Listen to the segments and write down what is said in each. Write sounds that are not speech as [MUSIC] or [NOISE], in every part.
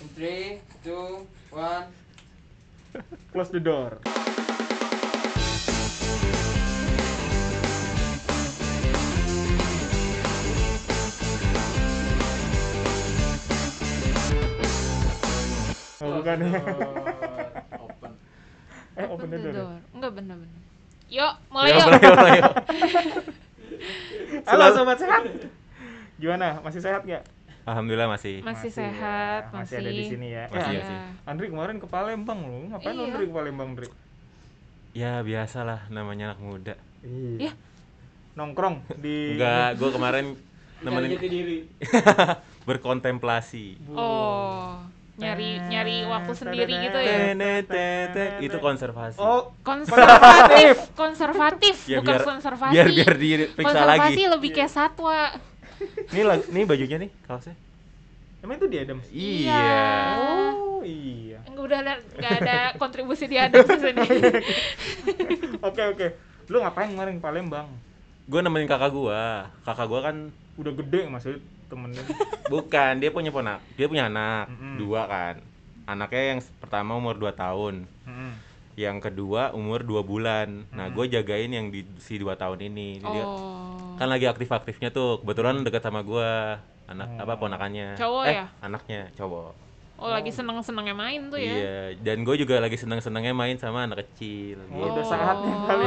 In three, two, one. Close the door. Oh, Oh, bukan ya. Open. [LAUGHS] Eh, open the door. ya? Enggak bener-bener. Yuk, mulai yuk. [LAUGHS] Halo Selalu- sobat sehat. Gimana? Masih sehat nggak? Alhamdulillah masih. Masih ya. sehat, masih. ada di masih. sini ya. Masih, Eh, ya. masih. Andri kemarin ke Palembang lu. Ngapain lu Iya. Andri ke Palembang, Andri? Ya biasalah namanya anak muda. Iya. Ya. Nongkrong di Enggak, gue kemarin Mencari jati nemenin diri. berkontemplasi. Oh, nyari nyari waktu sendiri gitu ya. Tenetetet, itu konservasi. Oh, Konservatif, konservatif, Ya, bukan biar- konservasi. biar biar diperiksa konservasi lagi. lebih kayak satwa. Nih lag- nih bajunya nih kaosnya. emang itu dia, Adam? Iya. Oh, iya. Enggak udah ada- enggak ada kontribusi di Adam di sini. [LAUGHS] Oke, oke. Lu ngapain kemarin ke Palembang? Gue nemenin kakak gua. Kakak gua kan Udah gede maksudnya [LAUGHS] temennya. bukan, dia punya ponak, dia punya anak Mm-mm. dua kan. Anaknya yang s- pertama umur 2 tahun, Mm-mm. yang kedua umur 2 bulan. Nah, Mm-mm. gue jagain yang di si 2 tahun ini. Jadi dia- Oh. kan lagi aktif-aktifnya tuh kebetulan deket sama gua anak Hmm. apa ponakannya Cowok eh, ya? anaknya cowok Oh, lagi seneng-senengnya main tuh ya. iya dan gue juga lagi seneng-senengnya main sama anak kecil Oh, gitu. udah saatnya kali.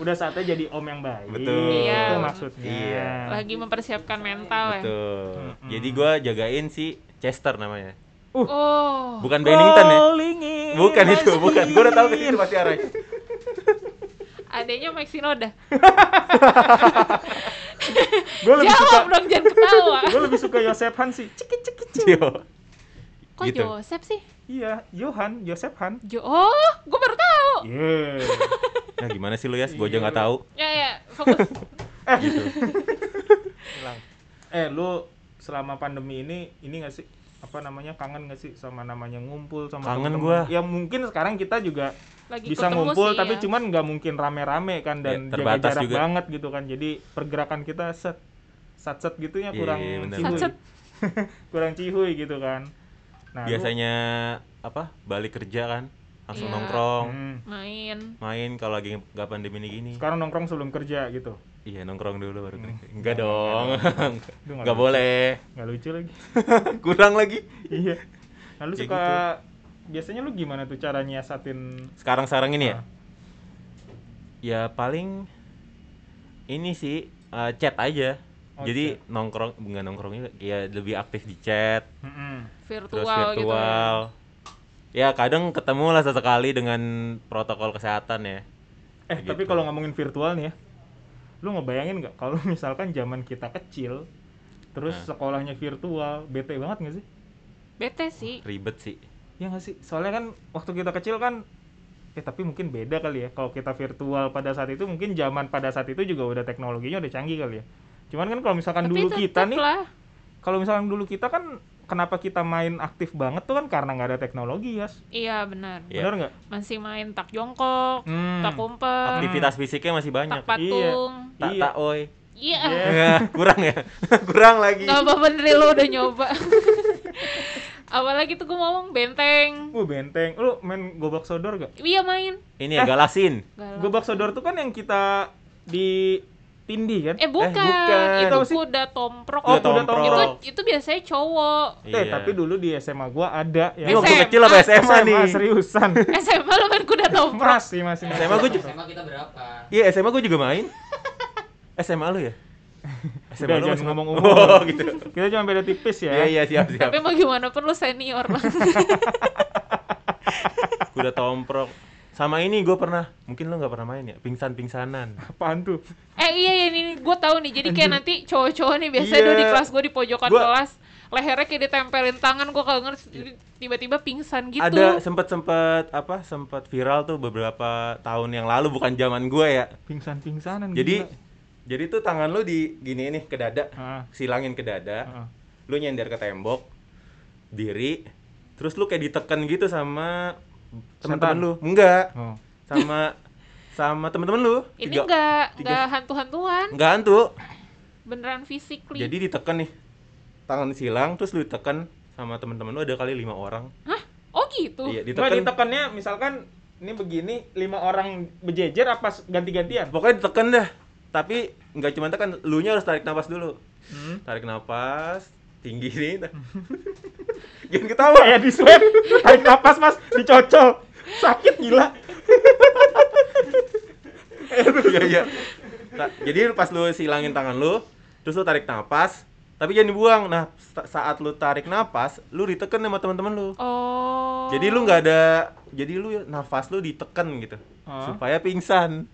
Udah saatnya jadi om yang baik. Betul. Itu Iya. maksudnya. Iya. Lagi mempersiapkan mental ya. betul Mm-mm. jadi gua jagain si Chester namanya Oh. bukan Bennington ya [LAUGHS] Calling in bukan my itu bukan gue udah tahu ke situ pasti arah Adanya Mike Sinoda. Gue lebih suka Jawab dong jangan Ya, [LAUGHS] ketawa. gue lebih suka Yosef Han sih. Cik, cik, cik. Cio. Kok Gitu. Joseph sih? Iya, Johan, Yosef Han. Jo oh, gue baru tahu. Yeah. nah gimana sih lu ya gue aja Iya. Nah, nggak tahu Ya ya, fokus. gitu eh, lu selama pandemi ini ini gak sih apa namanya kangen gak sih sama namanya ngumpul sama Kangen temen-temen? gua. ya mungkin sekarang kita juga Lagi bisa ketemu ngumpul sih, tapi ya. cuman nggak mungkin rame-rame kan dan Ya, jaga terbatas jarak juga. banget gitu kan jadi pergerakan kita set set set gitu ya Iya, kurang iya, bener. cihuy Satset. [LAUGHS] kurang cihuy gitu kan nah, lu- biasanya apa balik kerja kan langsung Iya. nongkrong Hmm. main. main kalau lagi nggak pandemi ini gini sekarang nongkrong sebelum kerja gitu Iya nongkrong Hmm. dulu baru kerja. Enggak dong. [LAUGHS] Aduh, Enggak boleh. nggak lucu lagi [LAUGHS] Kurang lagi. iya nah, lu Ya suka biasanya lu gimana tuh cara nyiasatin Sekarang-sekarang ini ya? Ah. Ya paling ini sih eh, chat aja. Oh, Jadi nongkrong enggak nongkrong juga, ya lebih aktif di chat, Mm-mm. Virtual, gitu. terus ya. virtual. Ya kadang ketemu lah sesekali dengan protokol kesehatan ya. Eh, Kayak tapi gitu. kalau ngomongin virtual nih ya, lu ngebayangin nggak kalau [LAUGHS] misalkan zaman kita kecil, terus Nah. sekolahnya virtual, bete banget nggak sih? Bete sih. Ribet sih. Ya nggak sih? Soalnya kan waktu kita kecil kan, eh tapi mungkin beda kali ya. Kalau kita virtual pada saat itu, mungkin zaman pada saat itu juga udah teknologinya udah canggih kali ya. Cuman kan kalau misalkan tapi dulu tetep kita nih, lah. kalau misalkan dulu kita kan kenapa kita main aktif banget tuh kan karena nggak ada teknologi ya. Iya benar. Iya. Bener nggak? Masih main tak jongkok, Hmm. tak kumpet, Aktivitas fisiknya masih banyak. tak patung. Tak Iya. tak oi. Iya. Iya. Ya, [LAUGHS] kurang ya. kurang lagi. Gak apa-apa Ndri, lo udah nyoba. [LAUGHS] Apalagi tuh gue ngomong benteng. Wuh benteng, lu main gobak sodor gak? Iya main. Ini ya galaksin. Galak. Gobak sodor tuh kan yang kita di tindih kan? Eh bukan, bukan. itu Apa sih? kuda tomprok. Oh, Kuda kuda tomprok. Itu itu biasanya cowok. Eh, tapi dulu di SMA gua ada Iya. ya. Ini yang Bisa. waktu kecil apa SMA, nih? [LAUGHS] seriusan. SMA lo main [LAUGHS] kuda tomprok. masih, masih. masih. SMA gua juga. SMA kita berapa? Iya SMA gua juga main. SMA lu ya? [LAUGHS] Udah, jangan masih- [LAUGHS] ngomong umur. Oh gitu. Kita cuma beda tipis [LAUGHS] ya. Iya iya siap siap. Tapi mau gimana pun lo [LAUGHS] senior banget. Kuda tomprok. Sama ini gua pernah, mungkin lu nggak pernah main ya, pingsan-pingsanan. Apaan tuh? eh iya iya ini gue tahu nih. Jadi kayak nanti cowok-cowok nih biasanya Iya. dulu di kelas gue di pojokan Gua- kelas lehernya kayak ditempelin tangan gue kagak ngerti jadi tiba-tiba pingsan gitu. Ada sempet sempet apa sempet viral tuh beberapa tahun yang lalu bukan zaman gua ya. Pingsan-pingsanan Jadi gila. jadi tuh tangan lu di gini nih ke dada, Ah. silangin ke dada, Heeh. lu nyender ke tembok, diri, terus lu kayak diteken gitu sama teman-teman Setan. lu. Enggak. Oh. sama sama temen-temen lu ini tiga. enggak kan? tiga- enggak hantu-hantuan, nggak hantu beneran physically. jadi ditekan nih tangan silang terus lu ditekan sama teman-teman lu ada kali lima orang. Oh gitu. Iya, Nggak, ditekan. ditekannya misalkan ini begini lima orang berjejer apa s- ganti-gantian? Pokoknya ditekan dah. Tapi nggak cuma tekan, lu nya harus tarik nafas dulu. Tarik nafas tinggi nih. [LAUGHS] Jangan ketawa. Kayak di swab, ya tarik napas mas, dicocol, sakit gila. Iya iya. Ta- Jadi pas lu silangin tangan lu, terus lu tarik nafas, tapi jangan dibuang. Nah, sa- saat lu tarik nafas, lu diteken sama teman-teman lu. Oh. Jadi lu nggak ada, jadi lu nafas lu diteken gitu, Hah? supaya pingsan.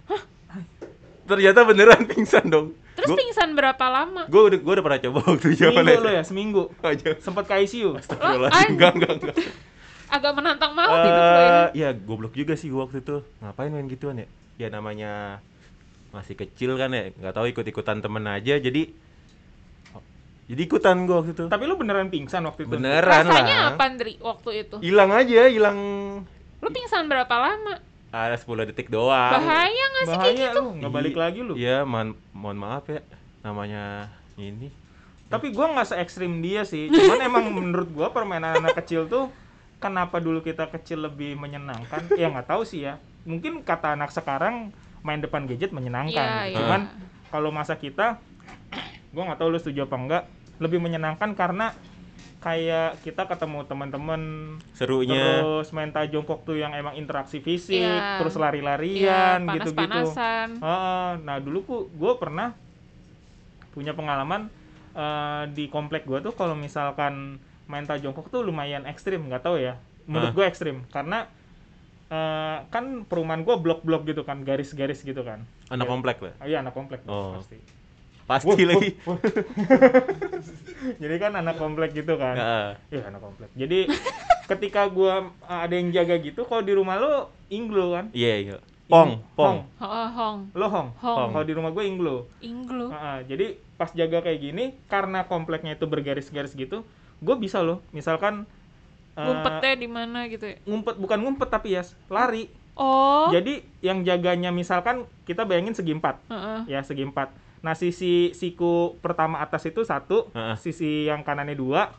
Ternyata beneran pingsan dong. Terus Gua- pingsan berapa lama? Gue udah gue udah pernah coba waktu zaman Seminggu lo ya, seminggu. Oh, Aja. Sempet ke ICU. iya. Astagfirullah. Lah, Enggak, enggak, [LAUGHS] enggak. Agak menantang maut hidup lo Oh, gitu ini. Eh, ya goblok juga sih gua waktu itu. Ngapain main gituan ya? Ya namanya masih kecil kan ya, nggak tahu ikut-ikutan temen aja. Jadi jadi ikutan gua waktu itu. Tapi lu beneran pingsan waktu itu? Beneran Rasanya lah. apa Andri waktu itu? Hilang aja, hilang Lu pingsan berapa lama? ada 10 detik doang. Bahaya nggak sih kayak Bahaya gitu? lu, nggak balik Iya, lagi lu. Iya, mohon mohon maaf ya. Namanya ini. Tapi gua nggak se ekstrim dia sih. Cuman [LAUGHS] emang menurut gua permainan anak kecil tuh kenapa dulu kita kecil lebih menyenangkan? Ya nggak tahu sih ya. Mungkin kata anak sekarang main depan gadget menyenangkan. gitu. Iya, iya. Cuman kalau masa kita, gua nggak tahu lu setuju apa enggak. Lebih menyenangkan karena kayak kita ketemu teman-teman Serunya terus main tajong waktu yang emang interaksi fisik Iya. terus Iya, lari-larian gitu-gitu panas-panasan. Heeh, nah dulu ku gue pernah punya pengalaman eh, di komplek gue tuh kalau misalkan main tajongkok tuh lumayan ekstrim nggak tahu ya menurut Hah? gue ekstrim karena eh, kan perumahan gue blok-blok gitu kan garis-garis gitu kan anak Iya. komplek lah. Ah, iya anak komplek dong, Oh. [LAUGHS] pasti Pasti lagi. [LAUGHS] jadi kan anak komplek gitu kan Heeh. Iya anak komplek. Jadi ketika gua uh, ada yang jaga gitu, kalau di rumah lo inglo kan? Iya, iya. Pong, pong. Ho- Hong, Lo hong. Hong. Kalau di rumah gue inglo. Inglo. Ah, ah. jadi pas jaga kayak gini, karena kompleknya itu bergaris-garis gitu, gue bisa loh. Misalkan eh, Ngumpetnya di mana gitu ya? ngumpet bukan ngumpet tapi ya lari. Oh. Jadi yang jaganya misalkan kita bayangin segi empat, Heeh. ya segi empat. Nah sisi siku pertama atas itu satu, Heeh. sisi yang kanannya dua,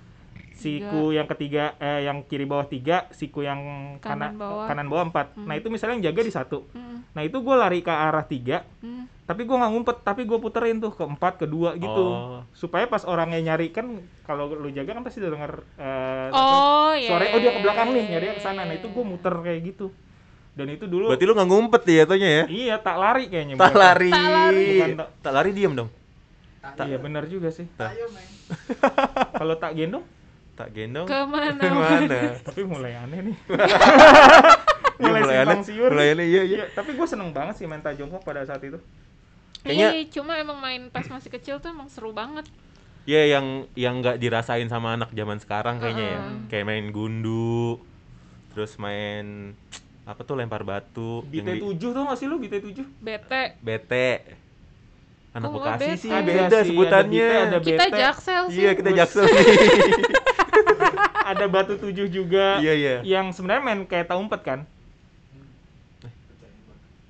siku yang ketiga, eh, yang kiri bawah tiga, siku yang Kanan kanan bawah. kanan bawah empat. Hmm. Nah itu misalnya yang jaga di satu. Mm, Nah itu gue lari ke arah tiga, mm. tapi gue nggak ngumpet, tapi gue puterin tuh ke empat, ke dua gitu. Oh. Supaya pas orangnya nyari kan, kalau lu jaga kan pasti udah denger eh, Oh, apa, ya. suaranya, oh dia ke belakang nih, iya, nyari ke sana. Nah itu gue muter kayak gitu. Dan itu dulu, Berarti lu nggak ngumpet ya tanya ya? iya tak lari kayaknya. Tak bukan. lari. Tak lari. Bukan tak- Tak lari diam dong. Iya benar juga sih. Ayo, Meng. Kalau tak gendong, [LAUGHS] Tak gendong. Kemana? [LAUGHS] Iya, Kemana? tapi mulai aneh nih. Iya, mulai mulai aneh, simpang siur. mulai aneh, iya, iya. Iya, tapi gue seneng banget sih main tajongkok pada saat itu. Kayaknya- Iya, cuma emang main pas masih kecil tuh emang seru banget. Ya yang yang nggak dirasain sama anak zaman sekarang kayaknya ya. Kayak main gundu, terus main apa tuh lempar batu, yang di- BT7 tuh nggak sih lu BT7? Bete. bete. Anak Oh, Bekasi bete. sih Ada beda sih, sebutannya. ada bete, ada Kita Bete. jaksel sih. Iya, kita Bus. [LAUGHS] jaksel nih. Ada batu 7 juga. Iya, iya. Yang sebenarnya main kayak tahu umpet kan?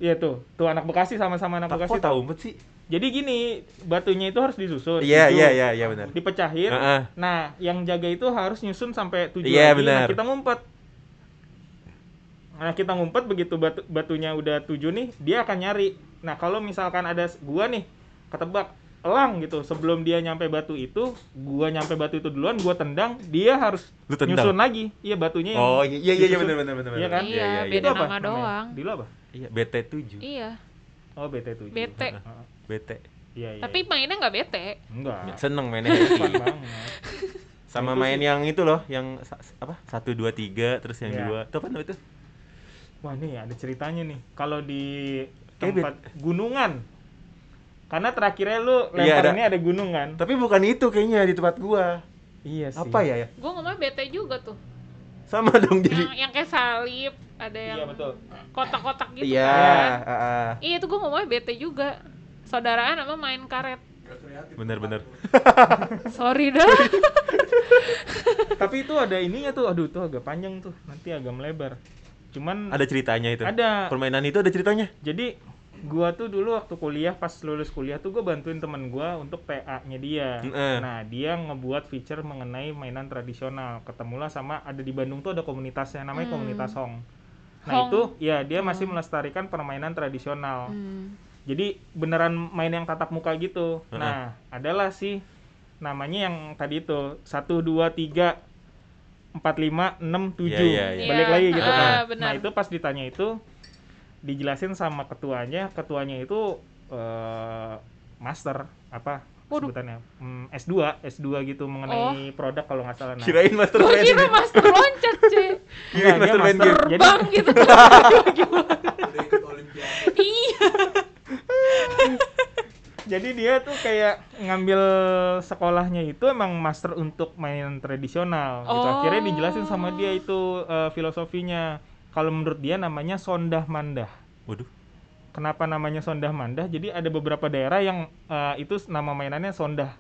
Iya tuh, tuh anak Bekasi sama-sama anak Eh. Tak Bekasi. kok tahu umpet sih? Jadi gini, batunya itu harus disusun. Iya, tujuh. iya, iya, iya benar. Dipecahin. Heeh. Nah, yang jaga itu harus nyusun sampai tujuh lagi. Iya, Nah, benar. kita ngumpet. Nah, kita ngumpet begitu batu, batunya udah tujuh nih, dia akan nyari. Nah, kalau misalkan ada s- gua nih, ketebak elang gitu, sebelum dia nyampe batu itu, gua nyampe batu itu duluan, gua tendang, dia harus Lu tendang? nyusun lagi. Iya, batunya yang Oh, iya iya iya disusun. benar benar benar. Iya kan? Iya Itu iya iya. Beda apa nama namanya? doang. Di lu apa? Iya, bete 7. Iya. Oh, BT7. Bete. Heeh. Bete. Iya, iya. Tapi mainnya nggak bete. enggak. Iya. Seneng mainnya happy. Banget. Sama Itu main sih. yang itu loh, yang sa- apa? 1 2 3 terus yang Iya. dua. Itu apa namanya itu? Wah nih ada ceritanya nih. Kalau di Kayak tempat gunungan, karena terakhirnya lu Iya, ada- lemparannya ada gunung kan? Tapi bukan itu kayaknya di tempat gua. Iya sih. Apa ya ya? Gue ngomong bete juga [LAUGHS] tuh. Sama dong jadi. Yang, yang kayak salib, ada yang Iya betul. kotak-kotak gitu Iya, kan. ah, ah. Iya, itu gue ngomongnya bete juga. Saudaraan sama main karet. bener-bener. Sorry dah. [LAUGHS] Tapi itu ada ininya tuh. Aduh tuh agak panjang tuh. Nanti agak melebar. Cuman Ada ceritanya itu. Ada. Permainan itu ada ceritanya. jadi gua tuh dulu waktu kuliah pas lulus kuliah tuh gua bantuin temen gua untuk PA-nya dia. Heeh. Nah, dia ngebuat feature mengenai mainan tradisional. Ketemulah sama ada di Bandung tuh ada komunitasnya namanya Hmm. komunitas Hong. Nah, Hong. itu ya dia masih melestarikan permainan tradisional. Hmm. Jadi beneran main yang tatap muka gitu. Heeh. Nah, adalah sih namanya yang tadi itu satu dua tiga empat lima enam tujuh Iya, iya, iya. balik Iya, lagi gitu ah, kan. benar. Nah itu pas ditanya itu dijelasin sama ketuanya, ketuanya itu eh, master apa Waduh. Oh. sebutannya Hmm, S2 S2 gitu mengenai produk kalau nggak salah. Nah, Kirain master Gua plan. kira master loncat cuy enggak, Kirain dia Iya, master plan master. game. Jadi terbang gitu Udah ikut olimpiade. iya jadi dia tuh kayak ngambil sekolahnya itu emang master untuk main tradisional gitu. Oh. Akhirnya dijelasin sama dia itu eh, filosofinya. Kalau menurut dia namanya sondah mandah. Waduh. Kenapa namanya sondah mandah? Jadi ada beberapa daerah yang eh, itu nama mainannya sondah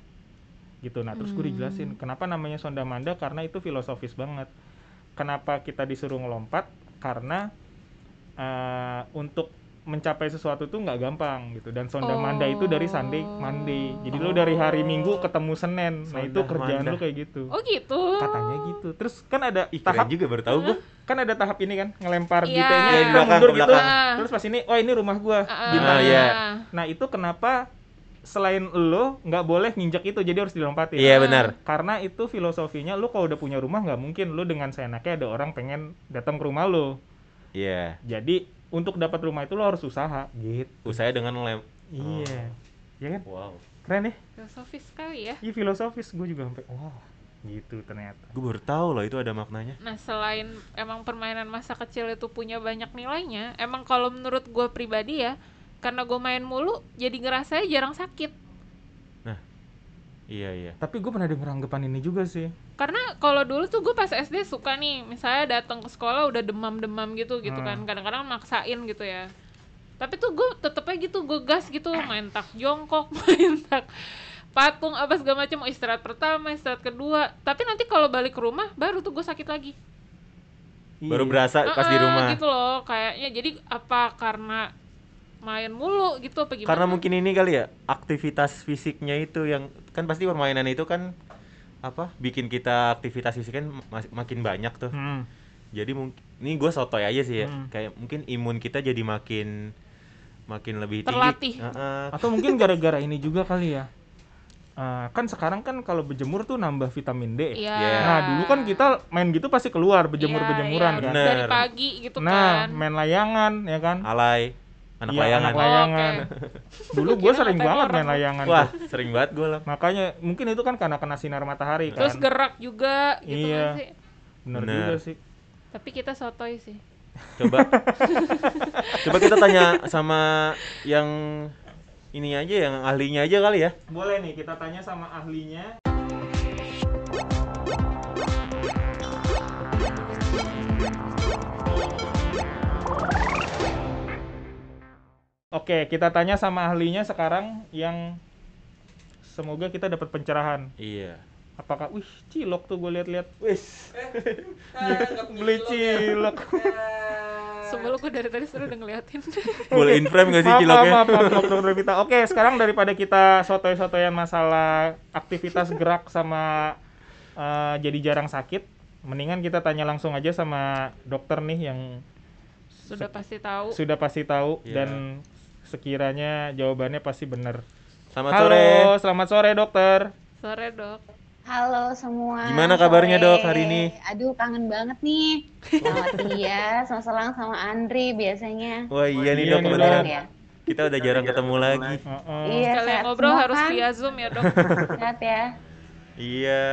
gitu. Nah, terus gue Hmm. dijelasin kenapa namanya sondah mandah karena itu filosofis banget. Kenapa kita disuruh ngelompat? Karena eh, untuk mencapai sesuatu tuh nggak gampang gitu. Dan sondah mandah itu dari Sunday Oh. Monday. Jadi lu dari hari Minggu ketemu Senin. nah, itu Sondah kerjaan mandah. lu kayak gitu. oh gitu Katanya gitu. Terus kan ada Ih, keren tahap juga baru tahu gua. kan ada tahap ini kan ngelempar Iya. bintangnya Iya, kita di belakang, mundur ke gitu belakang. Ah. terus pas ini oh ini rumah gua Ah, bintangnya iya. nah itu kenapa selain lo nggak boleh nginjak itu jadi harus dilompatin Iya benar. karena itu filosofinya lu kalau udah punya rumah nggak mungkin lu dengan seenaknya ada orang pengen datang ke rumah lo Iya. jadi untuk dapat rumah itu lo harus usaha gitu Usahanya dengan lem. Oh. iya ya kan Wow. keren ya filosofis sekali ya ini filosofis gue juga sampai wah gitu ternyata Gue baru tahu loh itu ada maknanya. Nah, selain emang permainan masa kecil itu punya banyak nilainya, emang kalau menurut gue pribadi ya, karena gue main mulu, jadi ngerasanya jarang sakit. Iya iya. tapi gue pernah denger anggapan ini juga sih Karena kalau dulu tuh gue pas SD suka nih, misalnya datang ke sekolah udah demam-demam gitu Hmm. gitu kan, kadang-kadang maksain gitu ya. Tapi tuh gue tetep aja gitu, gue gas gitu, main tak jongkok, [LAUGHS] main tak patung apa segala macam istirahat pertama istirahat kedua tapi nanti kalau balik ke rumah baru tuh gue sakit lagi Iya. Baru berasa pas Eh, di Ah, rumah. gitu loh kayaknya jadi apa karena main mulu gitu apa gimana Karena mungkin ini kali ya aktivitas fisiknya itu yang kan pasti permainan itu kan apa bikin kita aktivitas fisik kan mas- makin banyak tuh. Hmm. Jadi mungkin ini gue sotoy aja sih ya. Hmm. Kayak mungkin imun kita jadi makin makin lebih tinggi. Terlatih. Heeh. atau mungkin gara-gara ini juga kali ya Eh, kan sekarang kan kalau berjemur tuh nambah vitamin D Iya. Iya. nah dulu kan kita main gitu pasti keluar berjemur berjemuran Iya, kan bener. dari pagi gitu nah kan main layangan ya kan Alay Ah, anak Iya, layangan. anak layangan [LAUGHS] dulu gue Oh, Kira sering ngatain banget orang. main layangan Wah, tuh. sering banget gue lah. makanya mungkin itu kan karena kena sinar matahari terus kan gerak juga gitu Iya. kan sih bener, Bener. juga sih tapi kita sotoy sih Coba [LAUGHS] Coba kita tanya sama yang ini aja yang ahlinya aja kali ya. boleh nih kita tanya sama ahlinya Oke, kita tanya sama ahlinya sekarang yang semoga kita dapat pencerahan. Iya. Apakah, wih, cilok tuh gue lihat-lihat. Wis. Beli cilok. Iya. sebelum gue dari tadi seru udah ngeliatin [LAUGHS] Boleh in frame gak sih Maaf, ciloknya? maaf, maaf, maaf, dokter Vita. Oke, sekarang daripada kita sotoy-sotoyan masalah aktivitas gerak sama eh, jadi jarang sakit, mendingan kita tanya langsung aja sama dokter nih yang sudah pasti tahu sudah pasti tahu Iya. dan sekiranya jawabannya pasti benar. Selamat Halo, sore. selamat sore dokter. sore dok Halo semua. Gimana Selamat kabarnya, sore. Dok, hari ini? Aduh kangen banget nih. Sama Tia, sama Selang, sama Andri biasanya. Wah iya nih Iya dok nih, kebetulan Dok. Iya. kita udah jarang ketemu lagi. Heeh. Iya, kalian sehat ngobrol semua harus kan? via zoom ya [LAUGHS] dok Sehat ya. Iya.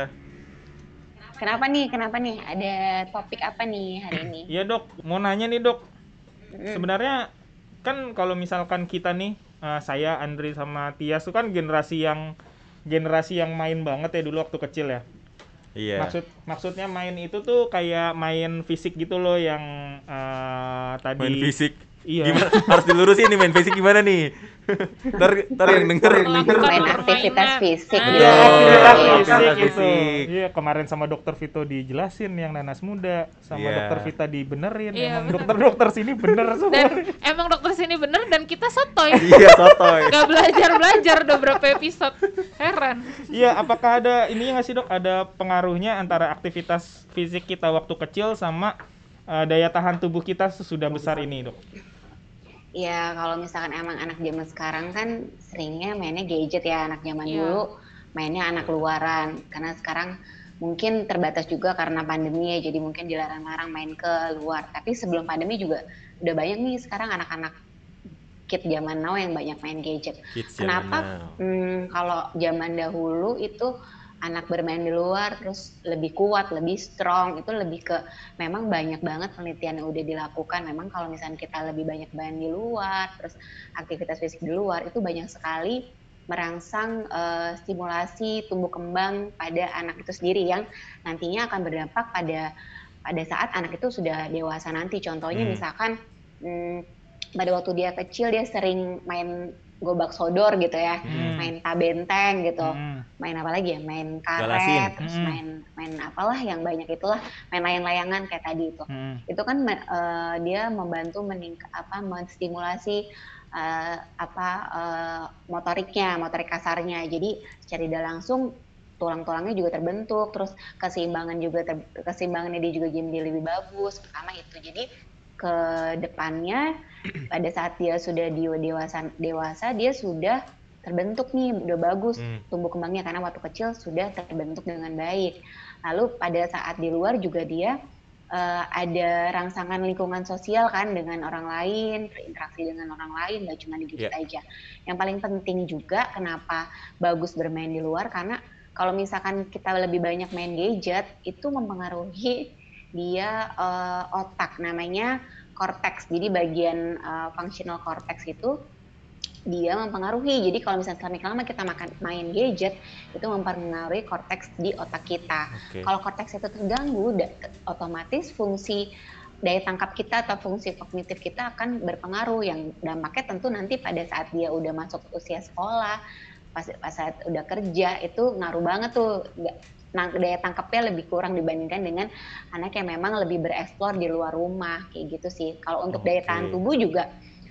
Kenapa nih? Kenapa nih? Ada topik apa nih hari ini? Iya dok, mau nanya nih dok. Mm. Sebenarnya kan kalau misalkan kita nih, eh, saya Andri sama Tias tuh kan generasi yang generasi yang main banget ya dulu waktu kecil ya. Iya. Maksud maksudnya main itu tuh kayak main fisik gitu loh yang eh, tadi. main fisik. Iya. Gimana? Harus dilurusin nih main fisik gimana nih? ntar ntar yang denger yang denger Melakukan Main permainan. aktivitas fisik Nah, gitu. Iya, kan aktivitas Iya, fisik aktivitas itu. fisik. Iya, kemarin sama dokter Vito dijelasin yang nanas muda sama Iya. dokter Vita dibenerin. Iya, Emang bener. dokter-dokter sini [LAUGHS] bener semua. Dan emang dokter sini bener dan kita sotoy. iya sotoy Gak belajar-belajar udah berapa episode. Heran. Iya, apakah ada ini nggak sih dok? Ada pengaruhnya antara aktivitas fisik kita waktu kecil sama eh, daya tahan tubuh kita sesudah besar ini dok? Ya kalau misalkan emang anak zaman sekarang kan seringnya mainnya gadget ya anak zaman Iya. dulu mainnya anak luaran karena sekarang mungkin terbatas juga karena pandemi ya jadi mungkin dilarang-larang main ke luar tapi sebelum pandemi juga udah banyak nih sekarang anak-anak kid zaman now yang banyak main gadget. Kids Kenapa? zaman now. Hmm, kalau zaman dahulu itu anak bermain di luar terus lebih kuat, lebih strong itu lebih ke memang banyak banget penelitian yang udah dilakukan. Memang kalau misalnya kita lebih banyak main di luar, terus aktivitas fisik di luar itu banyak sekali merangsang eh, stimulasi tumbuh kembang pada anak itu sendiri yang nantinya akan berdampak pada pada saat anak itu sudah dewasa nanti. Contohnya Hmm. misalkan hmm, pada waktu dia kecil dia sering main gobak sodor gitu ya, Hmm. main tabenteng gitu, Iya. Hmm. main apa lagi ya, main karet, Galasin. terus Hmm. main main apalah yang banyak itulah, main layang-layangan kayak tadi itu Hmm. itu kan me- eh, dia membantu meningk apa menstimulasi eh, apa eh, motoriknya motorik kasarnya jadi secara tidak langsung tulang-tulangnya juga terbentuk terus keseimbangan juga ter- keseimbangannya dia juga jadi lebih bagus pertama itu jadi ke depannya pada saat dia sudah di dewasa dewasa dia sudah terbentuk nih udah bagus Hmm. tumbuh kembangnya karena waktu kecil sudah terbentuk dengan baik. Lalu pada saat di luar juga dia eh, ada rangsangan lingkungan sosial kan dengan orang lain, berinteraksi dengan orang lain, nggak cuma di gadget aja. Yang paling penting juga kenapa bagus bermain di luar karena kalau misalkan kita lebih banyak main gadget itu mempengaruhi dia eh, otak namanya cortex. Jadi bagian eh, functional cortex itu dia mempengaruhi. Jadi kalau misalnya selama lama kita makan main gadget itu mempengaruhi korteks di otak kita. oke Kalau korteks itu terganggu, da- otomatis fungsi daya tangkap kita atau fungsi kognitif kita akan berpengaruh yang dampaknya tentu nanti pada saat dia udah masuk usia sekolah, pas, pas saat udah kerja itu ngaruh banget tuh. Nggak- nang- daya tangkapnya lebih kurang dibandingkan dengan anak yang memang lebih bereksplor di luar rumah kayak gitu sih. Kalau untuk daya tahan Oke. tubuh juga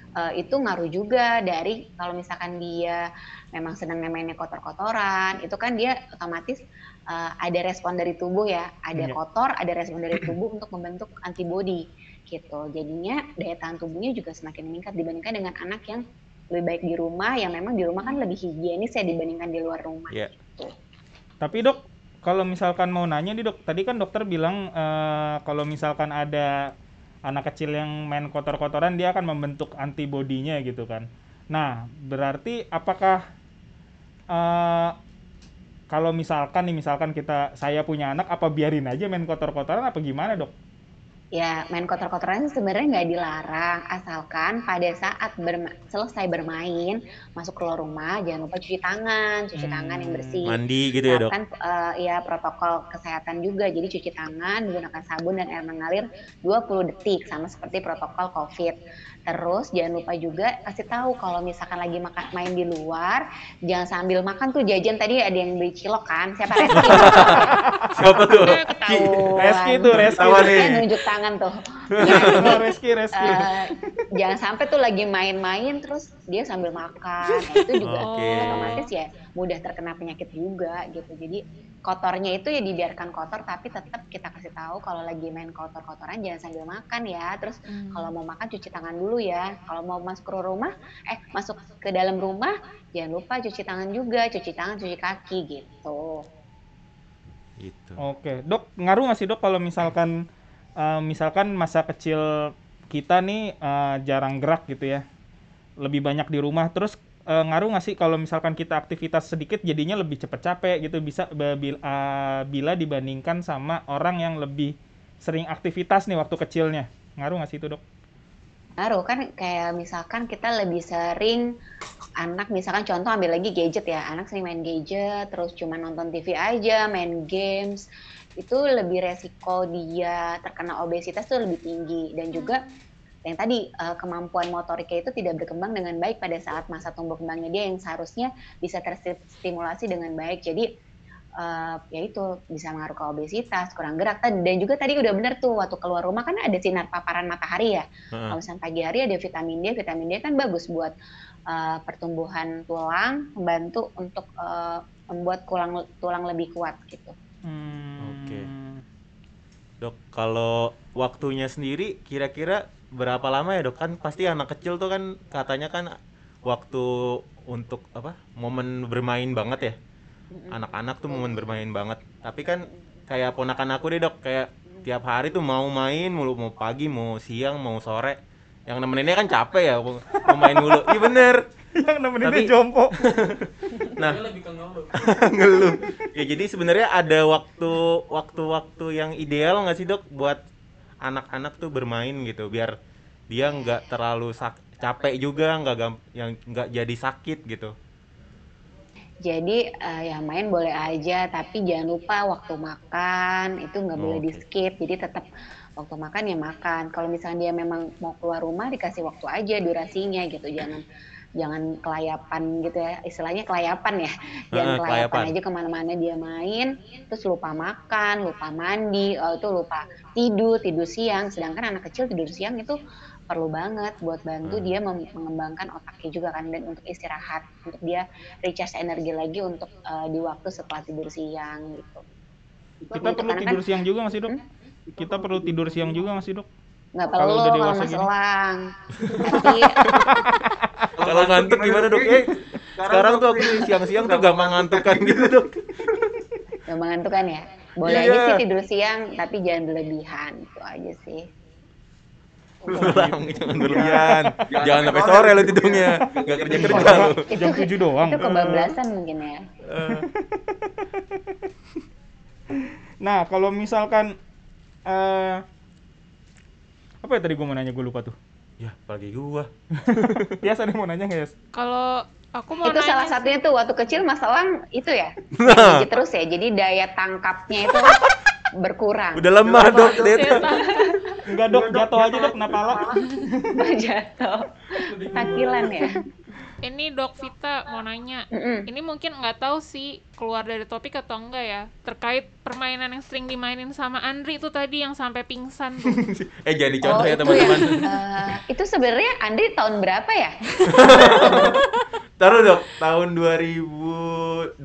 eh, itu ngaruh juga dari kalau misalkan dia memang senang mainnya kotor-kotoran, itu kan dia otomatis eh, ada respon dari tubuh ya, ada Iya. kotor, ada respon dari tubuh untuk membentuk antibodi gitu. Jadinya daya tahan tubuhnya juga semakin meningkat dibandingkan dengan anak yang lebih baik di rumah, yang memang di rumah kan lebih higienis ya dibandingkan di luar rumah. Iya. Tapi dok, kalau misalkan mau nanya nih dok, tadi kan dokter bilang eh, kalau misalkan ada anak kecil yang main kotor-kotoran dia akan membentuk antibodinya gitu kan. Nah, berarti apakah eh, kalau misalkan nih misalkan kita saya punya anak apa biarin aja main kotor-kotoran apa gimana dok? [LAUGHS] Ya, main kotor-kotoran sebenarnya nggak dilarang, asalkan pada saat berma- selesai bermain, masuk keluar rumah, jangan lupa cuci tangan, cuci tangan yang Hmm, bersih. mandi gitu ya dok Terapkan eh, ya protokol kesehatan juga, jadi cuci tangan menggunakan sabun dan air mengalir 20 detik, sama seperti protokol COVID. Terus jangan lupa juga kasih tahu kalau misalkan lagi makan main di luar, jangan sambil makan tuh jajan tadi ada yang beli cilok kan, siapa Reski? siapa tuh Udah ketahuan. Reski tuh, Reski. Ketahuan nih. Saya nunjuk tangan tuh. Nah, Reski, Reski. Eh, jangan sampai tuh lagi main-main terus dia sambil makan Nah, itu juga Oke. otomatis ya mudah terkena penyakit juga gitu jadi kotornya itu ya dibiarkan kotor tapi tetap kita kasih tahu kalau lagi main kotor-kotoran jangan sambil makan ya terus Hmm. kalau mau makan cuci tangan dulu ya kalau mau masuk ke rumah eh masuk ke dalam rumah jangan lupa cuci tangan juga cuci tangan cuci kaki gitu gitu Oke, dok ngaruh nggak sih dok kalau misalkan eh, misalkan masa kecil kita nih eh, jarang gerak gitu ya, lebih banyak di rumah, terus eh, ngaruh nggak sih kalau misalkan kita aktivitas sedikit jadinya lebih cepet capek gitu bisa be- bil- eh, bila dibandingkan sama orang yang lebih sering aktivitas nih waktu kecilnya, ngaruh nggak sih itu dok? Ngaruh kan kayak misalkan kita lebih sering anak misalkan contoh ambil lagi gadget ya anak sering main gadget terus cuma nonton TV aja main games Hmm. itu lebih resiko dia terkena obesitas tuh lebih tinggi dan juga yang tadi eh, kemampuan motoriknya itu tidak berkembang dengan baik pada saat masa tumbuh kembangnya dia yang seharusnya bisa terstimulasi dengan baik. Jadi eh, ya itu bisa mengaruh ke obesitas, kurang gerak Tad- dan juga tadi udah bener tuh waktu keluar rumah kan ada sinar paparan matahari ya. Heeh. Kalau misalnya pagi hari ada vitamin D, vitamin D kan bagus buat eh, pertumbuhan tulang, membantu untuk eh, membuat tulang tulang lebih kuat gitu. Oke. Hmm. Dok, kalau waktunya sendiri kira-kira berapa lama ya, Dok? Kan pasti anak kecil tuh kan katanya kan waktu untuk apa? momen bermain banget ya. Hmm. Anak-anak tuh momen bermain banget. Tapi kan kayak ponakan aku deh, Dok, kayak tiap hari tuh mau main mulu, mau pagi, mau siang, mau sore. Yang nemeninnya kan capek ya, mau mau main mulu. Iya bener. Yang [LAUGHS] nemenin Tapi- dia jompo. Nah, Dia lebih ke ngeluh. [LAUGHS] ngeluh ya jadi sebenarnya ada waktu waktu waktu yang ideal nggak sih dok buat anak-anak tuh bermain gitu biar dia nggak terlalu sak- capek juga nggak gam- yang nggak jadi sakit gitu Jadi eh, ya main boleh aja, tapi jangan lupa waktu makan itu nggak boleh Oke. di skip. Jadi tetap waktu makan ya makan. Kalau misalnya dia memang mau keluar rumah dikasih waktu aja durasinya gitu, jangan jangan kelayapan gitu ya. Istilahnya kelayapan ya, jangan Heeh, kelayapan, kelayapan. aja kemana-mana dia main, terus lupa makan, lupa mandi, oh, itu lupa tidur tidur siang. Sedangkan anak kecil tidur siang itu perlu banget buat bantu Hmm. dia mem- mengembangkan otaknya juga kan dan untuk istirahat untuk dia recharge energi lagi untuk eh, di waktu setelah tidur siang gitu. Kita perlu karena tidur kan siang juga nggak sih, Dok? Kita perlu tidur siang juga nggak sih, Dok? nggak kalau perlu udah kalau dewasa mas gini. [LAUGHS] elang. Tapi kalau ngantuk gimana dok eh sekarang eh, tuh aku siang-siang tuh gampang ngantukan gitu dok nggak mengantukkan ya. Boleh Iya. aja sih tidur siang tapi jangan berlebihan itu aja sih. Pulang, jangan berlebihan jangan sampai sore lo tidurnya nggak kerja kerja lo Jam 7 doang. Eh. Itu kebablasan mungkin ya. Nah, kalau misalkan eh apa ya tadi gue mau nanya gue lupa tuh. [LAUGHS] ya pagi gua Biasa ada yang mau nanya nggak ya? Kalau aku mau itu nanya salah sih. satunya tuh waktu kecil mas elang itu [LAUGHS] ya. Nah. Nah. terus ya. Jadi daya tangkapnya itu berkurang. udah lemah dok dia Saya tuh. tahu. Enggak dok, jatuh aja dok, kenapa lah? jatuh. Takilan ya. Ini Dok Vita mau nanya. Mm-mm. Ini mungkin nggak tahu sih keluar dari topik atau enggak ya terkait permainan yang sering dimainin sama Andri itu tadi yang sampai pingsan [LAUGHS] tuh. [LAUGHS] eh jadi contoh ya Oh, itu teman-teman yang, eh, itu sebenarnya Andri tahun berapa ya? Taruh dok, tahun 2012.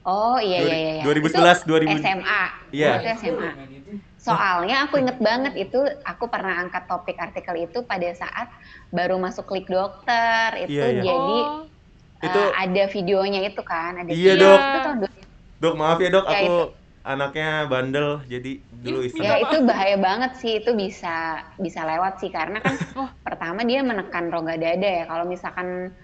Oh iya iya iya. iya. 2011, Itu 2000. SMA. Iya. Itu SMA. Soalnya aku inget banget itu aku pernah angkat topik artikel itu pada saat baru masuk klik dokter itu Iya, iya. jadi Oh, eh, Itu- ada videonya itu kan ada Iya, video. Dok. itu tahun dua- Dok maaf ya dok, Ya, aku anaknya bandel jadi dulu iseng. ya itu bahaya banget sih itu bisa bisa lewat sih karena [LAUGHS] kan Oh. pertama dia menekan rongga dada ya kalau misalkan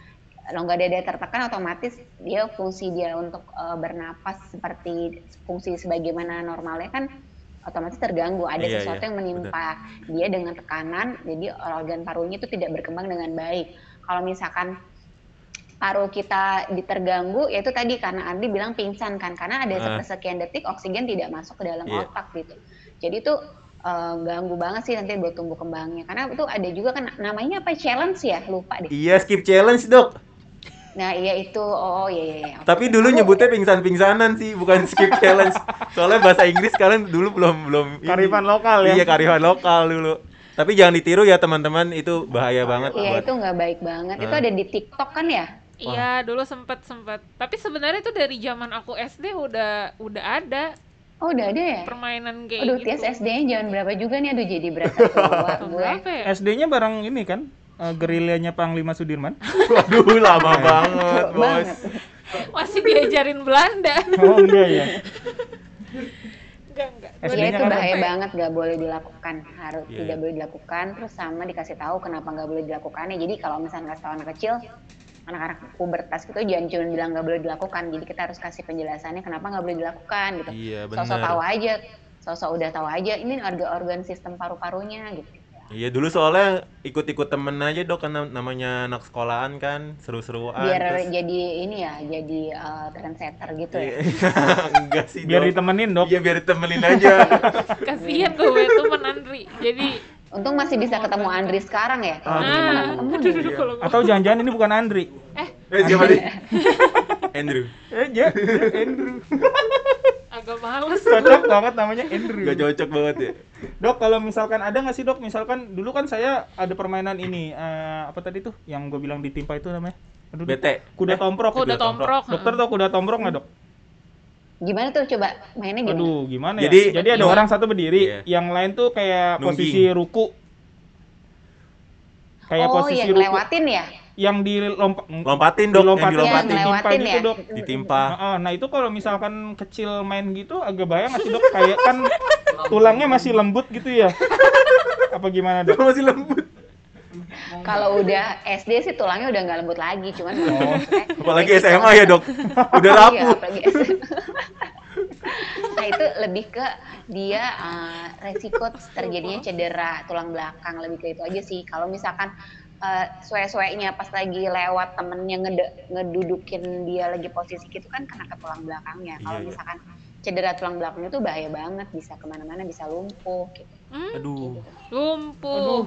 rongga dada tertekan otomatis dia fungsi dia untuk eh, bernapas seperti fungsi sebagaimana normalnya kan otomatis terganggu ada Iya, sesuatu iya, yang menimpa dia dengan tekanan jadi organ parunya itu tidak berkembang dengan baik kalau misalkan paru kita diterganggu yaitu tadi karena Andi bilang pingsan kan karena ada Ah. sepersekian detik oksigen tidak masuk ke dalam Iya. otak gitu jadi itu eh, ganggu banget sih nanti buat tumbuh kembangnya karena itu ada juga kan namanya apa challenge ya lupa deh Iya skip challenge dok. nah iya itu oh iya iya iya. Tapi dulu nyebutnya pingsan-pingsanan sih, bukan [LAUGHS] skip challenge. Soalnya bahasa Inggris kalian dulu belum belum. ini. Karifan lokal ya? Iya karifan lokal dulu. Tapi jangan ditiru ya teman-teman, itu bahaya banget iya buat. [LAUGHS] itu nggak baik banget itu Ah. ada di TikTok kan ya iya dulu sempet sempet. Tapi sebenarnya itu dari zaman aku SD udah udah ada oh udah ada ya permainan kayak Aduh, gitu. Tias eh, SD-nya jangan berapa juga nih. Aduh, jadi [LAUGHS] berasa tua Tahun gue. berapa ya? SD-nya bareng ini kan, eh, gerilyanya Panglima Sudirman. [LAUGHS] Waduh lama banget Tua bos. Iya. banget. Masih diajarin Belanda. [LAUGHS] Oh enggak ya. Enggak, enggak. SD-nya Iya itu kan bahaya banget, nggak boleh dilakukan, harus Iya, tidak iya. boleh dilakukan. Terus sama dikasih tahu kenapa nggak boleh dilakukannya. Jadi kalau misalnya kasih tahu anak kecil, anak-anak pubertas gitu jangan cuma bilang nggak boleh dilakukan. Jadi kita harus kasih penjelasannya kenapa nggak boleh dilakukan gitu. Iya Sosok tahu benar. aja, sosok udah tahu aja. Ini organ-organ sistem paru-parunya gitu. Iya dulu soalnya ikut-ikut temen aja dok, karena namanya anak sekolahan kan seru-seruan. Biar terus- jadi ini ya, jadi eh, trendsetter gitu Iya. ya. Iya. [LAUGHS] Enggak sih. Biar Dok. ditemenin dok. Iya biar ditemenin aja. Kasihan gue itu menandri. Jadi Untung masih bisa ketemu Andri sekarang ya. Ah, Nah, aduh, aduh, kalau gua- Atau jangan-jangan ini bukan Andri? Eh, siapa nih? Andrew Eh, ya, Andrew. agak males. Cocok banget namanya Andrew. gak cocok banget ya Dok, kalau misalkan ada nggak sih dok, misalkan dulu kan saya ada permainan ini, eh, apa tadi tuh, yang gue bilang ditimpa itu namanya? Aduh, bete Kuda Eh, tomprok. gitu ya, Aku udah tomprok. Dokter tau kuda tomprok nggak dok? Gimana tuh coba mainnya gimana? Aduh, gimana ya? Jadi- Jadi ada Iya. orang satu berdiri, Iya. yang lain tuh kayak Nungging. posisi ruku. Kayak oh, posisi yang ruku. lewatin ya? Yang dilompat. lompatin dok yang Dilompatin. Yang dilompatin Iya, Timpa lewatin ya? gitu, Dok. ditimpa Nah, nah, itu kalau misalkan kecil main gitu agak bayang nggak sih dok? Kayak kan tulangnya masih lembut gitu ya? Apa gimana [LAUGHS] dok? masih lembut Kalau udah SD sih tulangnya udah nggak lembut lagi, cuman Oh, apalagi SMA ya dok udah [LAUGHS] Iya, rapuh apalagi SMA. nah itu lebih ke dia eh, resiko terjadinya cedera tulang belakang lebih ke itu aja sih. Kalau misalkan eh suwe-suwenya pas lagi lewat temennya ngede- ngedudukin dia lagi posisi gitu kan kena ke tulang belakangnya. Kalau Iya, iya. misalkan cedera tulang belakang itu bahaya banget, bisa kemana-mana, bisa lumpuh. Gitu. aduh Aduh, Hmm, Lumpuh.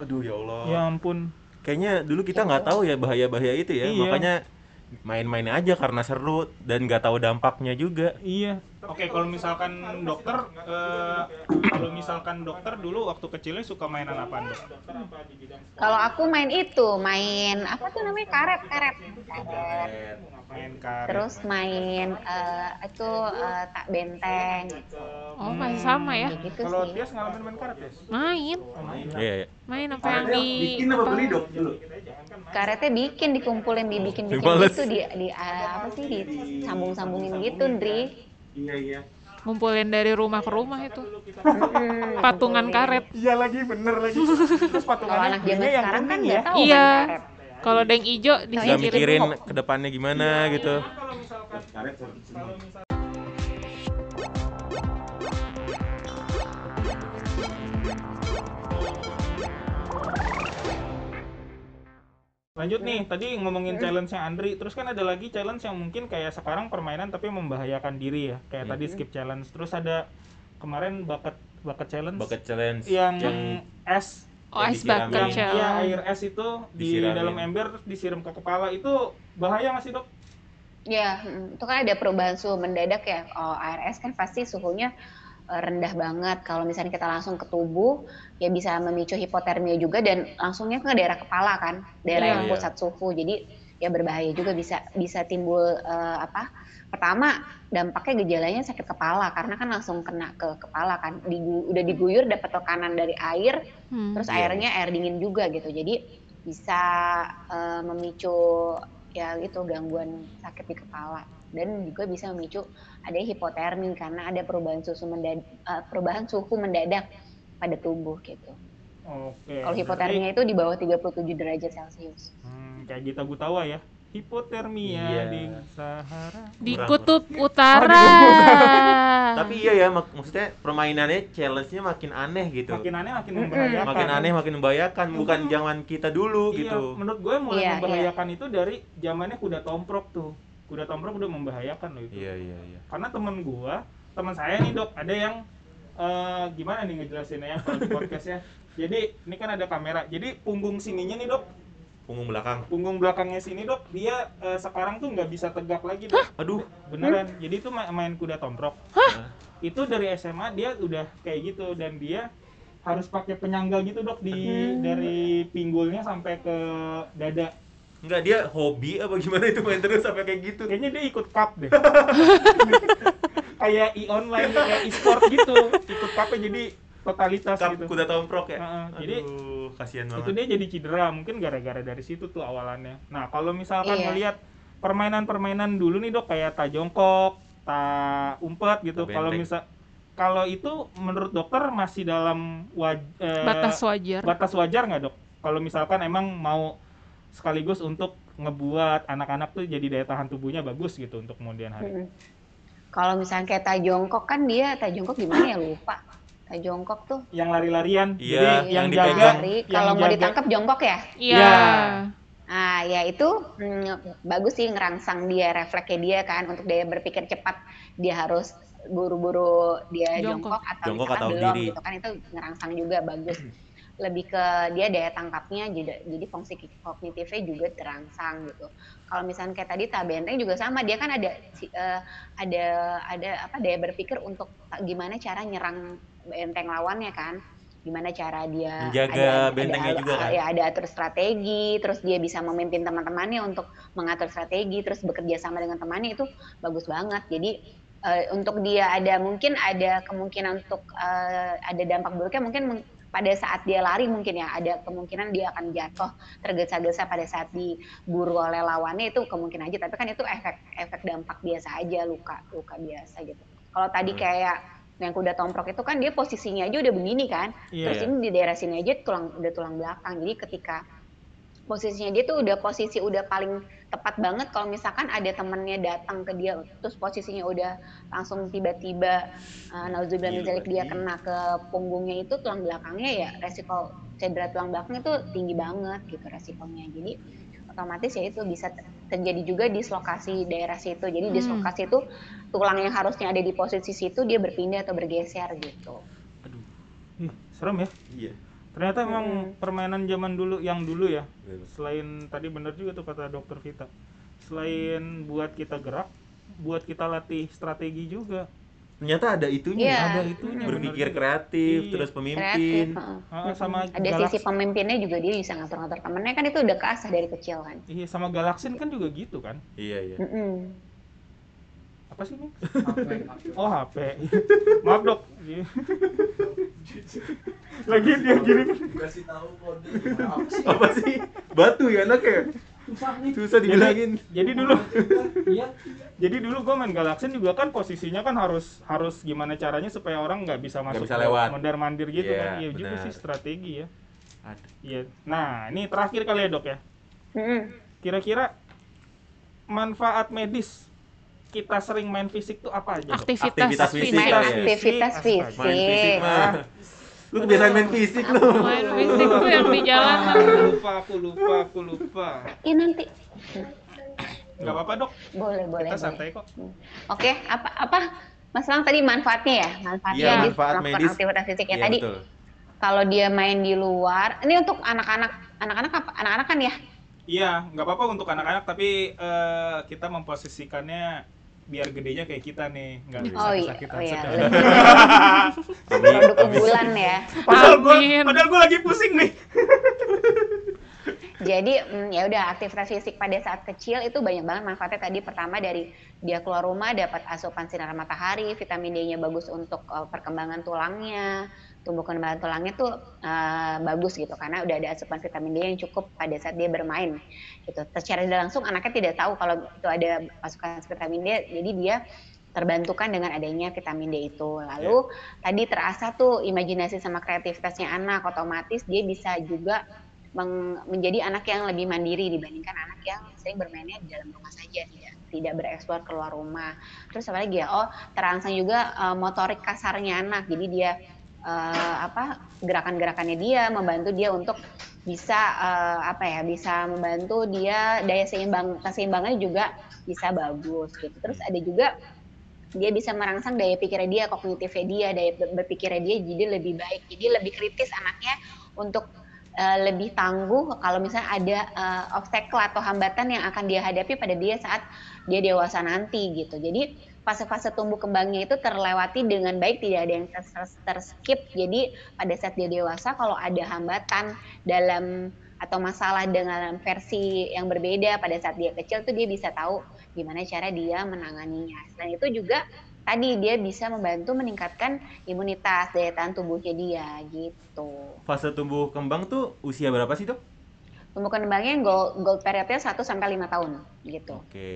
aduh ya Allah ya ampun. kayaknya dulu kita nggak tahu ya bahaya-bahaya itu ya Iya. makanya main-main aja karena seru dan nggak tahu dampaknya juga Iya. Oke, kalau misalkan dokter, eh, kalau misalkan dokter dulu waktu kecilnya suka mainan apa dok? Kalau aku main itu, main apa tuh namanya karet-karet. Karet. Main karet. Terus main eh, itu eh, tak benteng gitu. Oh, masih sama ya. Kayak gitu Kalau sih. Tias ngalamin main karet ya? Main, Iya, iya. main apa yang Karetnya di bikin apa beli dok dulu? karetnya bikin dikumpulin dibikin bikin Dibales. gitu di di ah, apa sih disambung-sambungin gitu Ndri Iya iya. ngumpulin dari rumah ke rumah itu. Mm-mm, Patungan dikumpulin. karet. Iya lagi, bener [LAUGHS] lagi. Terus kalau patungannya anak zaman belinya yang sekarang kan kuning ya. nggak tahu main Iya. karet Kalau ada yang ijo Iya, nggak jadi mikirin hoax. ke depannya gimana gitu Karet satu semua. Lanjut nih, tadi ngomongin challenge-nya Andri, terus kan ada lagi challenge yang mungkin kayak sekarang permainan tapi membahayakan diri ya. Kayak Iya. tadi skip challenge, terus ada kemarin bucket bucket challenge bucket challenge yang, yang es Oh, Yang ice bucket dikiramin. Iya, challenge. air es itu di Disiramin. dalam ember terus disiram ke kepala itu bahaya nggak sih dok? ya mm, itu kan ada perubahan suhu mendadak ya oh, ARS kan pasti suhunya eh, rendah banget kalau misalnya kita langsung ke tubuh ya bisa memicu hipotermia juga dan langsungnya ke daerah kepala kan daerah Iya. yang Iya. pusat suhu jadi ya berbahaya juga bisa bisa timbul eh, apa pertama dampaknya gejalanya sakit kepala karena kan langsung kena ke kepala kan Digu- udah diguyur dapat tekanan dari air Hmm. terus Iya. airnya air dingin juga gitu jadi bisa eh, memicu ya gitu gangguan sakit di kepala dan juga bisa memicu ada hipotermi karena ada perubahan suhu mendadak perubahan suhu mendadak pada tubuh gitu Iya, Oke. kalau berarti- hipotermia itu di bawah 37 derajat celcius Hmm, kayak kita gutawa ya. Hipotermia Iya. di Sahara. Di Kurang, kutub Oh, utara. di kutub tapi Ah. iya ya mak- maksudnya permainannya challenge-nya makin aneh gitu Makin aneh makin Mm-mm. membahayakan. makin aneh makin membahayakan bukan zaman kita dulu Iya, gitu menurut gue mulai Iya, membahayakan itu dari zamannya kuda tomprok tuh. Kuda tomprok udah membahayakan loh itu. iya iya iya Karena temen gua, teman saya nih dok, ada yang eh, gimana nih ngejelasinnya ya kalau di [LAUGHS] podcastnya. Jadi ini kan ada kamera. Jadi punggung sininya nih dok, punggung belakang punggung belakangnya sini dok, dia eh, sekarang tuh nggak bisa tegak lagi dok. aduh Beneran. Jadi itu ma- main kuda tomprok. Nah, Itu dari SMA dia udah kayak gitu dan dia harus pakai penyangga gitu dok di Hmm. dari pinggulnya sampai ke dada. enggak dia hobi apa gimana itu main terus sampai kayak gitu Kayaknya dia ikut cup deh. [LAUGHS] kayak e-online kayak e-sport gitu. Ikut cupnya jadi totalitas Kap, gitu. kuda tomprok ya Heeh, jadi- Aduh, kasihan itu banget dia jadi cedera mungkin gara-gara dari situ tuh awalannya nah kalau misalkan Iya. melihat permainan-permainan dulu nih dok kayak ta jongkok ta umpet gitu Ta kalau benteng. misal kalau itu menurut dokter masih dalam waj eh, [LAUGHS] Batas wajar. batas wajar nggak dok kalau misalkan emang mau sekaligus untuk ngebuat anak-anak tuh jadi daya tahan tubuhnya bagus gitu untuk kemudian hari Mm-mm. kalau misalnya kayak tajongkok kan dia tajongkok gimana ya lupa tajongkok tuh yang lari-larian jadi Iya, yang, yang jaga dipegang. Lari, yang kalau mau jaga- ditangkap jongkok ya Iya. Iya. Ah, ya itu mm, bagus sih ngerangsang dia refleksnya dia kan untuk daya berpikir cepat dia harus buru-buru dia Jongkok. jongkok, atau Jongkok misalkan atau belum berdiri. [CLEARS THROAT] gitu kan itu ngerangsang juga bagus. lebih ke dia daya tangkapnya jadi jadi fungsi kognitifnya juga terangsang gitu. Kalau misalnya kayak tadi tabenteng juga sama dia kan ada si- eh, ada ada apa daya berpikir untuk ta- gimana cara nyerang benteng lawannya kan gimana cara dia Menjaga bentengnya ada, juga kan? ya ada atur strategi terus dia bisa memimpin teman-temannya untuk mengatur strategi terus bekerja sama dengan temannya itu bagus banget jadi eh, untuk dia ada mungkin ada kemungkinan untuk eh, ada dampak buruknya mungkin meng- pada saat dia lari mungkin ya ada kemungkinan dia akan jatuh tergesa-gesa pada saat diburu oleh lawannya itu kemungkinan aja tapi kan itu efek efek dampak biasa aja luka luka biasa gitu kalau tadi Hmm. kayak yang kuda tomprok itu kan dia posisinya aja udah begini kan Iya. terus ini di daerah sini aja tulang udah tulang belakang jadi ketika posisinya dia tuh udah posisi udah paling tepat banget kalau misalkan ada temennya datang ke dia terus posisinya udah langsung tiba-tiba uh, nauzubillah min Gila, dzalik, iya. dia kena ke punggungnya itu tulang belakangnya ya resiko cedera tulang belakang itu tinggi banget gitu resikonya jadi otomatis ya itu bisa ter- terjadi juga dislokasi daerah situ jadi Hmm. dislokasi itu tulang yang harusnya ada di posisi situ dia berpindah atau bergeser gitu Aduh. Ih, serem ya. Iya. Ternyata emang Mm-mm. permainan zaman dulu yang dulu ya. Selain tadi bener juga tuh kata dokter Vita. Selain buat kita gerak, buat kita latih strategi juga. Ternyata ada itunya. Iya. ya. Ada itunya. bener Berpikir juga. kreatif, Iya. terus kreatif pemimpin. heeh. Ah, sama ada galak- sisi pemimpinnya juga dia bisa ngatur-ngatur temennya kan itu udah keasah dari kecil kan Iya, sama galaksin kan juga gitu kan. Iya, [LAUGHS] iya. Mm-mm. Apa sih ini? Apa- Oh, HP. Maaf, Dok. Lagi dia gini kan. Kasih tahu kode apa sih? Apa sih? Batu ya anaknya. Susah nih. Susah dibilangin. Jadi dulu Iya. jadi dulu gue main Galaxian juga kan posisinya kan harus harus gimana caranya supaya orang nggak bisa masuk bisa lewat. mondar mandir gitu Iya, kan iya juga benar. sih strategi ya Aduh. iya nah ini terakhir kali ya dok ya Mm-mm. kira-kira manfaat medis kita sering main fisik tuh apa aja dok? Aktivitas, Aktivitas fisik main fisik. ya. aktivitas Fisik, fisik, Ah, Main fisik mah. Iya. Lu kebiasaan main fisik lu. Main fisik tuh yang di Ah, jalanan. aku lupa aku lupa aku lupa Ih, iya, nanti nggak apa-apa dok boleh boleh kita boleh. santai kok Hmm. oke apa apa Mas Lang tadi manfaatnya ya manfaatnya Iya, di manfaat melakukan medis. aktivitas fisik ya Iya, tadi betul. kalau dia main di luar ini untuk anak-anak anak-anak apa anak-anak kan ya iya nggak apa-apa untuk anak-anak tapi eh, kita memposisikannya biar gedenya kayak kita nih nggak bisa oh iya kesakitan oh iya sedang. lebih [LAUGHS] [LAUGHS] produk unggulan ya Padahal gue Amin. padahal gue lagi pusing nih. Jadi mm, ya udah aktivitas fisik pada saat kecil itu banyak banget manfaatnya tadi pertama dari dia keluar rumah dapat asupan sinar matahari, vitamin D-nya bagus untuk eh, perkembangan tulangnya, tumbuh kembang tulangnya tuh eh, bagus gitu karena udah ada asupan vitamin D yang cukup pada saat dia bermain gitu. Secara tidak langsung anaknya tidak tahu kalau itu ada asupan vitamin D, jadi dia terbantukan dengan adanya vitamin D itu. Lalu tadi terasa tuh imajinasi sama kreativitasnya anak otomatis dia bisa juga meng- menjadi anak yang lebih mandiri dibandingkan anak yang sering bermainnya di dalam rumah saja tidak tidak bereksplor keluar rumah terus apa lagi ya oh terangsang juga eh, motorik kasarnya anak jadi dia eh, apa gerakan-gerakannya dia membantu dia untuk bisa eh, apa ya bisa membantu dia daya seimbang keseimbangannya juga bisa bagus gitu terus ada juga dia bisa merangsang daya pikirnya dia kognitifnya dia daya ber- berpikirnya dia jadi lebih baik jadi lebih kritis anaknya untuk eh, lebih tangguh kalau misalnya ada eh, obstacle atau hambatan yang akan dia hadapi pada dia saat dia dewasa nanti gitu. Jadi fase-fase tumbuh kembangnya itu terlewati dengan baik, tidak ada yang ter- ter- terskip. Jadi pada saat dia dewasa kalau ada hambatan dalam atau masalah dengan versi yang berbeda pada saat dia kecil tuh dia bisa tahu gimana cara dia menanganinya. Selain itu juga tadi dia bisa membantu meningkatkan imunitas daya tahan tubuhnya dia gitu. Fase tumbuh kembang tuh usia berapa sih, Dok? tumbuh kembangnya gold, gold periodnya 1 sampai 5 tahun gitu. Oke.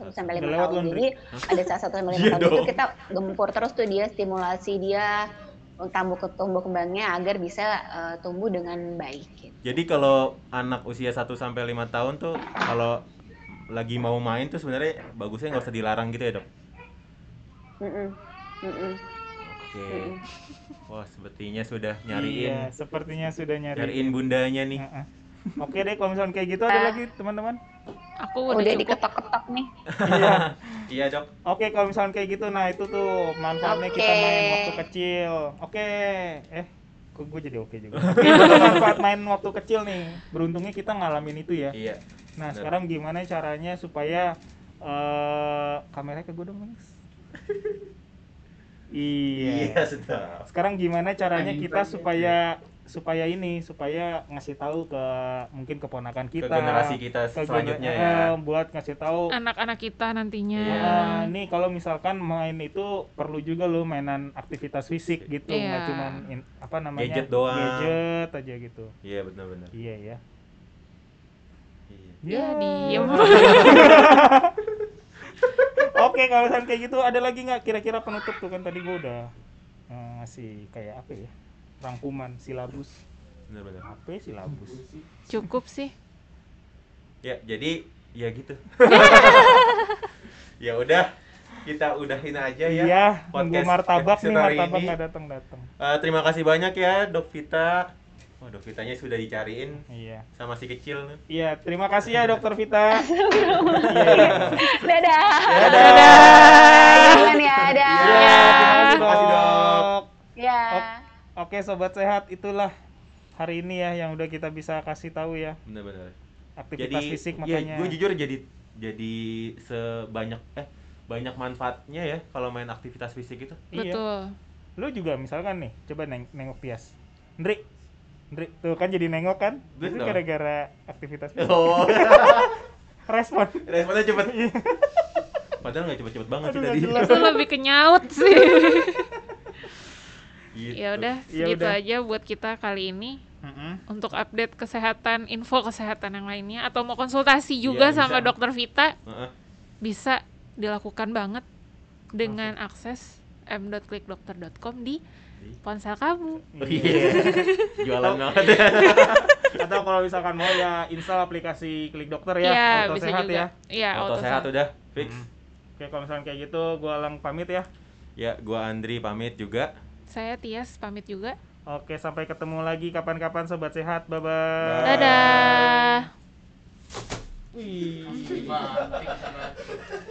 1 sampai Udah 5 lewat, tahun. Laundry. Jadi ada saat 1 sampai [LAUGHS] 5 Iya tahun itu dong. kita gempur terus tuh dia stimulasi dia tumbuh ke tumbuh kembangnya agar bisa eh, tumbuh dengan baik gitu. Jadi kalau anak usia 1 sampai 5 tahun tuh kalau lagi mau main tuh sebenarnya bagusnya nggak usah dilarang gitu ya, Dok. Mm-mm. Mm-mm. Oke. Wah, sepertinya sudah nyariin Iya, sepertinya sudah nyariin. Iya. nyariin bundanya nih. Heeh. Oke deh, kalau misalnya kayak gitu Ah. ada lagi teman-teman. Aku Udah, udah cukup. diketok-ketok nih. Iya. Iya, Dok. Oke, kalau misalnya kayak gitu, nah itu tuh manfaatnya Oke. kita main waktu kecil. Oke, eh, kok Kok gue jadi oke juga. [LAUGHS] Oke, manfaat main waktu kecil nih. Beruntungnya kita ngalamin itu ya. Iya. Nah, Bener. sekarang gimana caranya supaya eh kameranya ke gue dong, [LAUGHS] Mas? iya. Iya, sedap. Sekarang gimana caranya Anjing kita banget. supaya supaya ini supaya ngasih tahu ke mungkin keponakan Ke kita generasi kita ke gener- selanjutnya eh, ya. buat ngasih tahu anak-anak kita nantinya Iya. Ah, nih kalau misalkan main itu perlu juga lo mainan aktivitas fisik gitu, nggak Iya. cuma apa namanya Gadget doang. gadget aja gitu. Iya, benar-benar. Iya ya. Iya. ya diem [LAUGHS] Oke kalau misalkan kayak gitu ada lagi nggak kira-kira penutup tuh kan tadi gua udah eh, ngasih kayak apa ya rangkuman silabus Benar-benar. apa ya silabus cukup sih Ya, jadi ya [LAUGHS] gitu. ya udah, kita udahin aja ya. iya nunggu podcast martabak nih episode hari martabak ini. nggak datang datang Eh, terima kasih banyak ya, Dok Vita. Oh, Dok Vitanya sudah dicariin iya sama si kecil. iya terima kasih ya dokter [LAUGHS] Vita Dadah. dadah Kalian ya, dadah. Iya, terima kasih dok Ya. Oke sobat sehat itulah hari ini ya yang udah kita bisa kasih tahu ya Benar-benar. aktivitas fisik makanya. gue iya, jujur jadi jadi sebanyak eh banyak manfaatnya ya kalau main aktivitas fisik itu. Iya. betul Lu juga misalkan nih coba neng nengok Tias. Ndri. Ndri tuh kan jadi nengok kan? Itu Betul. gara-gara aktivitas fisik. Oh, Respon. [LAUGHS] responnya cepet. Padahal nggak cepet-cepet banget Aduh, sih nggak tadi. jelas. itu lebih kenyaut sih Gitu. ya udah Ya segitu udah. aja buat kita kali ini Mm-mm. untuk update kesehatan info kesehatan yang lainnya atau mau konsultasi juga Iya, bisa. sama dokter Vita Heeh. bisa dilakukan banget dengan akses m.klikdokter.com di Di? ponsel kamu. Iya. Jualan banget [LAUGHS] ya. [LAUGHS] Atau kalau misalkan mau ya install aplikasi Klik Dokter ya, auto Iya, bisa sehat juga. ya. Iya, Auto sehat udah fix. Mm. Oke, kalau misalkan kayak gitu gua lang pamit ya. Ya, gua Andri pamit juga. Saya Tias pamit juga. Oke, sampai ketemu lagi kapan-kapan sobat sehat. Bye bye. Bye. Dadah. Iya. Gimana?